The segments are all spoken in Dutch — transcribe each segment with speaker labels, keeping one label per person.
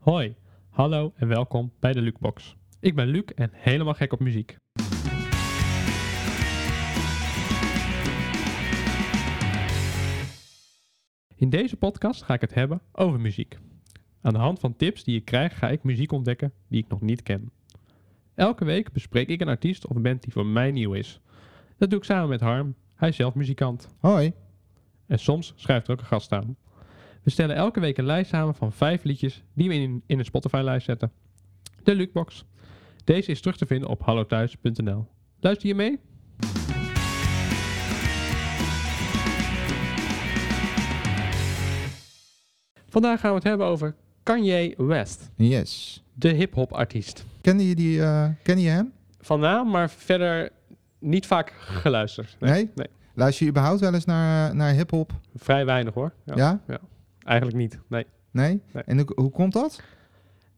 Speaker 1: Hoi, hallo en welkom bij de Lukebox. Ik ben Luc en helemaal gek op muziek. In deze podcast ga ik het hebben over muziek. Aan de hand van tips die ik krijg ga ik muziek ontdekken die ik nog niet ken. Elke week bespreek ik een artiest of band die voor mij nieuw is. Dat doe ik samen met Harm, hij is zelf muzikant.
Speaker 2: Hoi.
Speaker 1: En soms schuift er ook een gast aan. We stellen elke week een lijst samen van vijf liedjes die we in, in een Spotify-lijst zetten. De Lukebox. Deze is terug te vinden op hallothuis.nl. Luister je mee? Vandaag gaan we het hebben over Kanye West,
Speaker 2: Yes.
Speaker 1: de hip-hop artiest.
Speaker 2: Kende je, die, eh, ken je hem?
Speaker 1: Van naam, maar verder niet vaak geluisterd.
Speaker 2: Nee?
Speaker 1: nee.
Speaker 2: Luister je überhaupt wel eens naar, eh, naar hip-hop?
Speaker 1: Vrij weinig hoor. Ja,
Speaker 2: Ja.
Speaker 1: Eigenlijk niet. Nee.
Speaker 2: Nee?
Speaker 1: Nee.
Speaker 2: En hoe, hoe komt dat?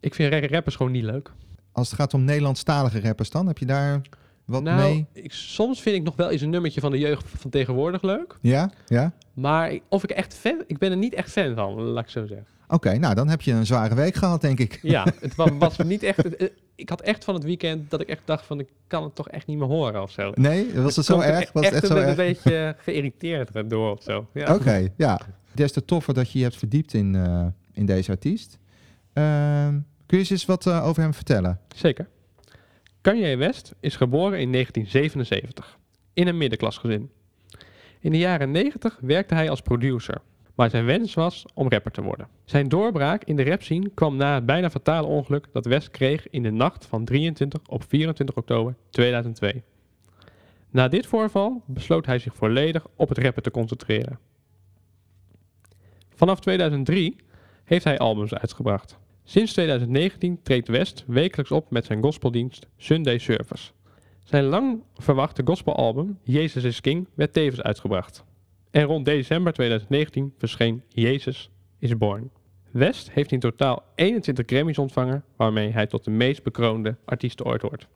Speaker 1: Ik vind ra- rappers gewoon niet leuk.
Speaker 2: Als het gaat om Nederlandstalige rappers dan, heb je daar wat
Speaker 1: nou,
Speaker 2: mee?
Speaker 1: Ik, soms vind ik nog wel eens een nummertje van de jeugd van tegenwoordig leuk.
Speaker 2: Ja? Ja?
Speaker 1: Maar ik- of ik echt fan... Ik ben er niet echt fan van, laat ik zo zeggen.
Speaker 2: Oké, nou dan heb je een zware week gehad, denk ik.
Speaker 1: Ja, het wa- was niet echt... het- eh, ik had echt van het weekend dat ik echt dacht van... Ik kan het toch echt niet meer horen of zo.
Speaker 2: Nee? Was het zo
Speaker 1: Komt er
Speaker 2: erg? Was het echt
Speaker 1: een,
Speaker 2: zo
Speaker 1: ben een
Speaker 2: erg? Oh,
Speaker 1: beetje geïrriteerd door of zo. Ja.
Speaker 2: Oké, ja. Des te toffer dat je je hebt verdiept in, eh, in deze artiest. Ehm, kun je eens eens wat eh, over hem vertellen?
Speaker 1: Zeker. Kanye West is geboren in 1977 in een middenklasgezin. In de jaren 90 werkte hij als producer, maar zijn wens was om rapper te worden. Zijn doorbraak in de rapscene kwam na het bijna fatale ongeluk dat West kreeg in de nacht van 23 op 24 oktober 2002. Na dit voorval besloot hij zich volledig op het rappen te concentreren. Vanaf 2003 heeft hij albums uitgebracht. Sinds 2019 treedt West wekelijks op met zijn gospeldienst Sunday Service. Zijn lang verwachte gospelalbum Jezus is King werd tevens uitgebracht. En rond december 2019 verscheen Jezus is Born. West heeft in totaal 21 Grammys ontvangen, waarmee hij tot de meest bekroonde artiesten ooit hoort.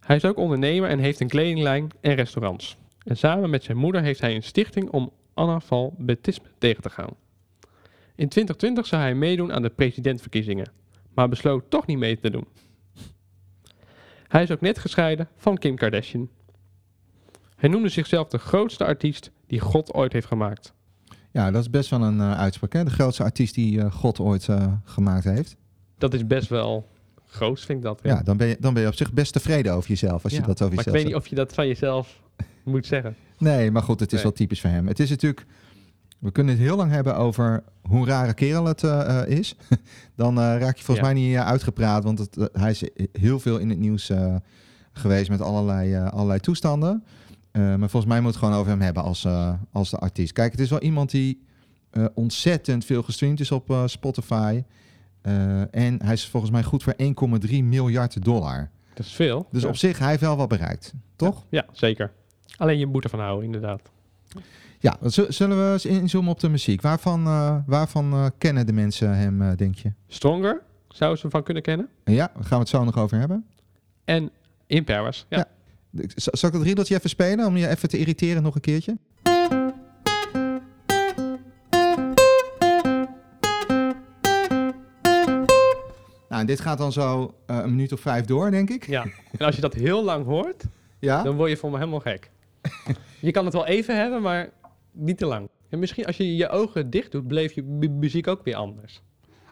Speaker 1: Hij is ook ondernemer en heeft een kledinglijn en restaurants. En samen met zijn moeder heeft hij een stichting om analfabetisme tegen te gaan. In 2020 zou hij meedoen aan de presidentverkiezingen, maar besloot toch niet mee te doen. Hij is ook net gescheiden van Kim Kardashian. Hij noemde zichzelf de grootste artiest die God ooit heeft gemaakt.
Speaker 2: Ja, dat is best wel een eh, uitspraak. Hè? De grootste artiest die eh, God ooit eh, gemaakt heeft.
Speaker 1: Dat is best wel groot, vind ik dat.
Speaker 2: Ja, dan ben, je, dan ben je op zich best tevreden over jezelf als je
Speaker 1: Ja,
Speaker 2: dat over
Speaker 1: maar ik
Speaker 2: jezelf
Speaker 1: weet niet of je dat van jezelf moet zeggen.
Speaker 2: Nee, maar goed, het is
Speaker 1: Nee.
Speaker 2: wel typisch voor hem. Het is natuurlijk... We kunnen het heel lang hebben over hoe rare kerel het eh, eh, is. Dan eh, raak je volgens
Speaker 1: Ja.
Speaker 2: mij niet eh, uitgepraat, want het, eh, hij is heel veel in het nieuws eh, geweest met allerlei, eh, allerlei toestanden. Eh, maar volgens mij moet het gewoon over hem hebben als, eh, als de artiest. Kijk, het is wel iemand die eh, ontzettend veel gestreamd is op eh, Spotify. Eh, en hij is volgens mij goed voor 1,3 miljard dollar.
Speaker 1: Dat is veel.
Speaker 2: Dus
Speaker 1: ja.
Speaker 2: op zich, hij heeft wel wat bereikt, toch?
Speaker 1: ja, zeker. Alleen je moet ervan houden, inderdaad.
Speaker 2: Ja, z- zullen we eens inzoomen op de muziek? Waarvan, eh, waarvan eh, kennen de mensen hem, eh, denk je?
Speaker 1: Stronger zou ze hem van kunnen kennen.
Speaker 2: En Ja, daar gaan we het zo nog over hebben.
Speaker 1: En In Paris. Ja,
Speaker 2: Ja. Ik- z- Zal ik dat riedeltje even spelen om je even te irriteren nog een keertje? Nou, en dit gaat dan zo eh, een minuut of vijf door, denk ik.
Speaker 1: ja. En als je dat heel lang hoort,
Speaker 2: Ja?
Speaker 1: Dan word je voor me helemaal gek. je kan het wel even hebben, maar niet te lang. En misschien als je je ogen dicht doet, bleef je mu- muziek ook weer anders.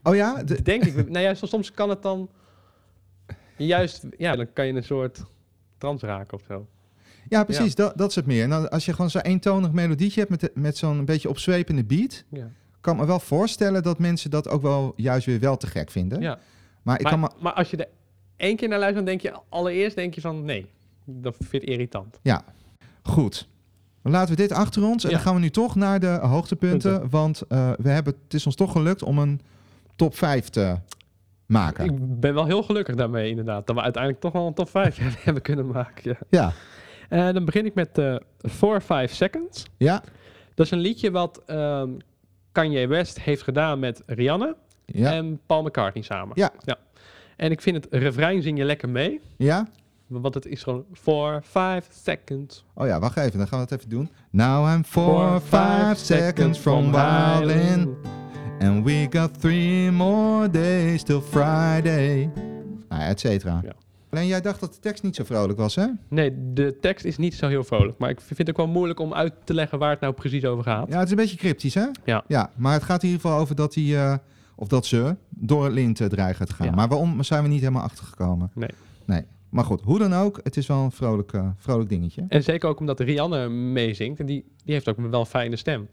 Speaker 2: Oh ja? De-
Speaker 1: Denk ik. Nou ja, so- soms kan het dan juist, ja, dan kan je een soort trance raken of zo.
Speaker 2: ja, precies. Dat, dat is het meer. Nou, als je gewoon zo'n eentonig melodietje hebt met, de- met zo'n beetje opzwepende beat...
Speaker 1: Ja.
Speaker 2: kan me wel voorstellen dat mensen dat ook wel juist weer wel te gek vinden.
Speaker 1: Ja.
Speaker 2: Maar ik
Speaker 1: Maar,
Speaker 2: kan me...
Speaker 1: maar als je er één keer naar luistert, dan denk je allereerst denk je van nee, dat vind ik irritant.
Speaker 2: Ja, goed. Dan Laten we dit achter ons en
Speaker 1: Ja.
Speaker 2: dan gaan we nu toch naar de hoogtepunten. Want eh, we hebben, het is ons toch gelukt om een top 5 te maken.
Speaker 1: Ik ben wel heel gelukkig daarmee inderdaad, dat we uiteindelijk toch wel een top 5 hebben kunnen maken. Ja.
Speaker 2: Ja,
Speaker 1: Eh, dan begin ik met eh 4 5 seconds.
Speaker 2: ja,
Speaker 1: Dat is een liedje wat ehm, Kanye West heeft gedaan met Rihanna
Speaker 2: ja,
Speaker 1: en Paul McCartney samen.
Speaker 2: Ja.
Speaker 1: En ik vind het refrein zing je lekker mee,
Speaker 2: ja.
Speaker 1: want het is gewoon 4, 5 seconds.
Speaker 2: Oh ja, wacht even, dan gaan we het even doen. Now I'm 4
Speaker 1: Four,
Speaker 2: 5 seconds from wildin' And we got three more days till Friday. Nou ja, et cetera.
Speaker 1: Ja.
Speaker 2: Alleen jij dacht dat de tekst niet zo vrolijk was, hè?
Speaker 1: Nee, de tekst is niet zo heel vrolijk. Maar ik vind het ook wel moeilijk om uit te leggen waar het nou precies over gaat.
Speaker 2: Ja, het is een beetje cryptisch, hè?
Speaker 1: Ja.
Speaker 2: ja maar het gaat in ieder geval over dat hij, eh, of dat ze, door het lint eh, dreigen te gaan.
Speaker 1: Ja.
Speaker 2: Maar waarom zijn we niet helemaal achtergekomen?
Speaker 1: Nee.
Speaker 2: Nee. Maar goed, hoe dan ook, het is wel een vrolijk, eh, vrolijk dingetje.
Speaker 1: En zeker ook omdat Rihanna meezingt. En die, die heeft ook wel een fijne stem.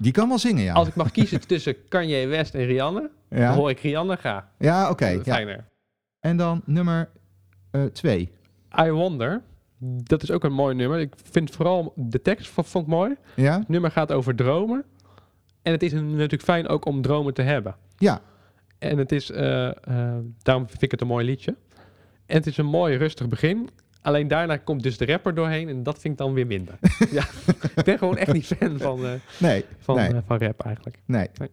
Speaker 2: Die kan wel zingen, ja.
Speaker 1: Als ik mag kiezen tussen Kanye West en Rihanna, dan
Speaker 2: Ja,
Speaker 1: hoor ik Rihanna ga.
Speaker 2: ja oké. ja.
Speaker 1: Fijner.
Speaker 2: En dan nummer eh, twee.
Speaker 1: I Wonder, dat is ook een mooi nummer. Ik vind vooral de tekst v- vond ik mooi.
Speaker 2: Ja?
Speaker 1: Het nummer gaat over dromen. En het is een- natuurlijk fijn ook om dromen te hebben.
Speaker 2: Ja.
Speaker 1: En het is, eh, eh, daarom vind ik het een mooi liedje. En het is een mooi rustig begin. Alleen daarna komt dus de rapper doorheen en dat vind ik dan weer minder. ja, ik ben gewoon echt niet fan van, eh,
Speaker 2: Nee,
Speaker 1: van,
Speaker 2: nee,
Speaker 1: eh, van rap eigenlijk.
Speaker 2: nee.
Speaker 1: nee.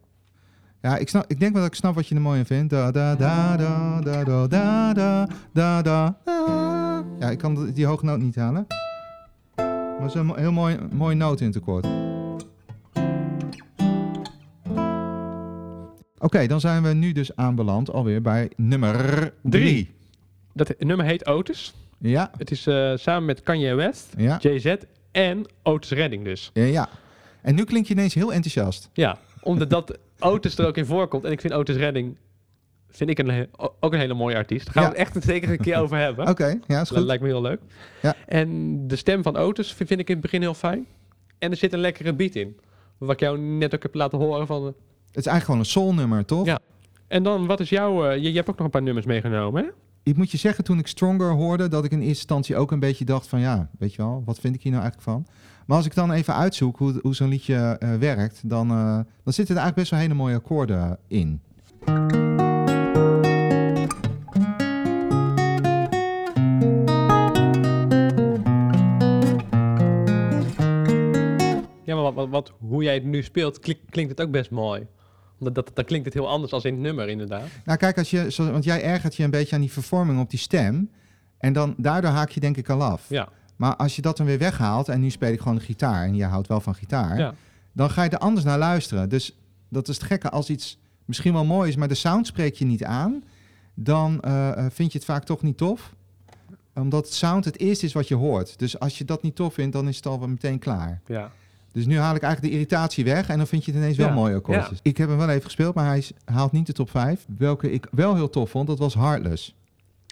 Speaker 2: Ja, ik, snap, ik denk wel dat ik snap wat je er mooi in vindt. Da, da, da, da, da, da, da, da, da, da. Ja, ik kan die hoge noot niet halen. Maar er is een mo- heel mooi, mooie noot in het akkoord. Oké, dan zijn we nu dus aanbeland alweer bij nummer drie.
Speaker 1: Dat nummer heet Otis.
Speaker 2: Ja,
Speaker 1: Het is eh, samen met Kanye West,
Speaker 2: ja,
Speaker 1: Jay-Z en Otis Redding dus.
Speaker 2: ja, ja. En nu klink je ineens heel enthousiast.
Speaker 1: Ja, omdat dat Otis er ook in voorkomt. En ik vind Otis Redding vind ik een, he- o- ook een hele mooie artiest. Daar gaan we
Speaker 2: Ja.
Speaker 1: het echt zeker een keer over hebben.
Speaker 2: Oké, ja,
Speaker 1: Dat
Speaker 2: is goed.
Speaker 1: lijkt me heel leuk.
Speaker 2: Ja.
Speaker 1: En de stem van Otis vind, vind ik in het begin heel fijn. En er zit een lekkere beat in. Wat ik jou net ook heb laten horen van... eh,
Speaker 2: Het is eigenlijk gewoon een soulnummer, toch?
Speaker 1: Ja. En dan, wat is jouw... eh, je, je hebt ook nog een paar nummers meegenomen, hè?
Speaker 2: ik moet je zeggen, toen ik Stronger hoorde, dat ik in eerste instantie ook een beetje dacht van ja, weet je wel, wat vind ik hier nou eigenlijk van? Maar als ik dan even uitzoek hoe, hoe zo'n liedje eh, werkt, dan, eh, dan zitten er eigenlijk best wel hele mooie akkoorden in.
Speaker 1: Ja, maar wat, wat, wat- hoe jij het nu speelt, klink- klinkt het ook best mooi. Omdat dat, dan klinkt het heel anders als in het nummer, inderdaad.
Speaker 2: Nou kijk, als je, zo- want jij ergert je een beetje aan die vervorming op die stem. En dan daardoor haak je denk ik al af.
Speaker 1: Ja.
Speaker 2: Maar als je dat dan weer weghaalt, en nu speel ik gewoon de gitaar, en jij houdt wel van gitaar,
Speaker 1: Ja.
Speaker 2: dan ga je er anders naar luisteren. Dus dat is het gekke. Als iets misschien wel mooi is, maar de sound spreekt je niet aan, dan eh, eh, vind je het vaak toch niet tof. Omdat sound het eerste is wat je hoort. Dus als je dat niet tof vindt, dan is het al wel meteen klaar.
Speaker 1: Ja.
Speaker 2: Dus nu haal ik eigenlijk de irritatie weg en dan vind je het ineens
Speaker 1: Ja,
Speaker 2: wel mooi akkoordjes. Ik heb hem wel even gespeeld, maar hij is- haalt niet de top 5. Welke ik wel heel tof vond, dat was Heartless.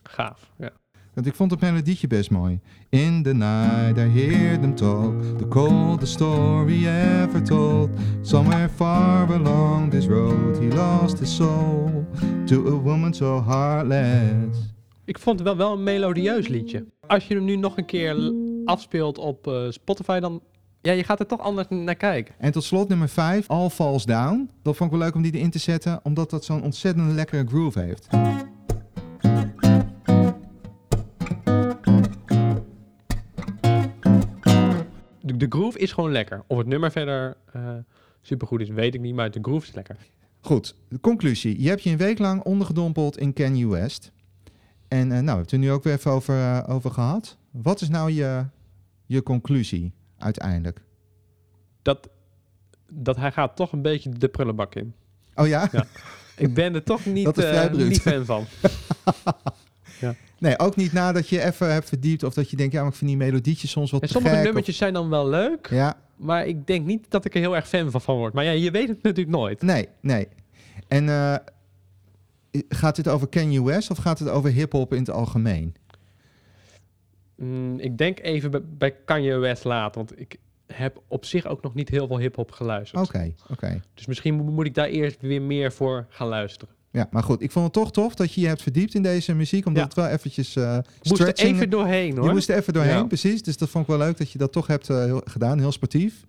Speaker 1: Gaaf. Ja.
Speaker 2: Want ik vond het melodietje best mooi. In the night I hear them talk, the coldest story ever told. Somewhere far along this road he lost his soul to a woman so heartless.
Speaker 1: Ik vond het wel, wel een melodieus liedje. Als je hem nu nog een keer l- afspeelt op eh, Spotify, dan... Ja, je gaat er toch anders n- naar kijken.
Speaker 2: En tot slot nummer 5, All Falls Down. Dat vond ik wel leuk om die erin te zetten, omdat dat zo'n ontzettend lekkere groove heeft.
Speaker 1: De, de groove is gewoon lekker. Of het nummer verder eh, supergoed is, weet ik niet. Maar de groove is lekker.
Speaker 2: Goed, de conclusie. Je hebt je een week lang ondergedompeld in Kanye West. En eh, nou, we hebben het er nu ook weer even over, eh, over gehad. Wat is nou je, je conclusie uiteindelijk?
Speaker 1: Dat, dat hij gaat toch een beetje de prullenbak in.
Speaker 2: Oh ja?
Speaker 1: Ja. Ik ben er toch niet,
Speaker 2: Dat is
Speaker 1: eh,
Speaker 2: vrij bruut.
Speaker 1: niet fan van.
Speaker 2: Nee, ook niet nadat je even hebt verdiept of dat je denkt, ja, maar ik vind die melodietjes soms wat
Speaker 1: En
Speaker 2: te
Speaker 1: sommige
Speaker 2: gek, of-
Speaker 1: nummertjes zijn dan wel leuk.
Speaker 2: Ja,
Speaker 1: Maar ik denk niet dat ik er heel erg fan van, van word. Maar ja, je weet het natuurlijk nooit.
Speaker 2: nee, nee. En eh, gaat dit over Kanye West of gaat het over hip-hop in het algemeen?
Speaker 1: Mm, ik denk even bij, bij Kanye West laten. Want ik heb op zich ook nog niet heel veel hip-hop geluisterd.
Speaker 2: Oké, oké.
Speaker 1: Dus misschien mo- moet ik daar eerst weer meer voor gaan luisteren.
Speaker 2: Ja, maar goed, ik vond het toch tof dat je je hebt verdiept in deze muziek, omdat
Speaker 1: Ja.
Speaker 2: het wel eventjes eh
Speaker 1: Ik moest er
Speaker 2: stretching-
Speaker 1: even doorheen hoor.
Speaker 2: Je moest er even doorheen,
Speaker 1: Ja.
Speaker 2: precies. Dus dat vond ik wel leuk dat je dat toch hebt eh, heel- gedaan, heel sportief.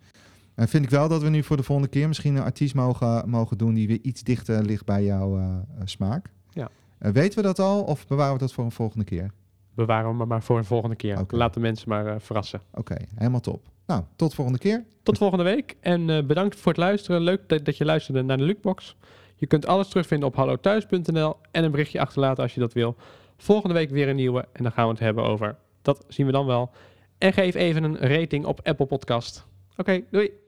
Speaker 2: En vind ik wel dat we nu voor de volgende keer misschien een artiest mogen, mogen doen die weer iets dichter ligt bij jouw eh, eh, smaak.
Speaker 1: Ja.
Speaker 2: Eh, weten we dat al of bewaren we dat voor een volgende keer?
Speaker 1: Bewaren we maar- maar voor een volgende keer.
Speaker 2: Oké.
Speaker 1: Laat de mensen maar eh, verrassen.
Speaker 2: Oké, helemaal top. Nou, tot volgende keer.
Speaker 1: Tot volgende week en eh, bedankt voor het luisteren. Leuk dat, dat je luisterde naar de Lukebox. Je kunt alles terugvinden op hallothuis.nl en een berichtje achterlaten als je dat wil. Volgende week weer een nieuwe en dan gaan we het hebben over. Dat zien we dan wel. En geef even een rating op Apple Podcast. Oké, doei.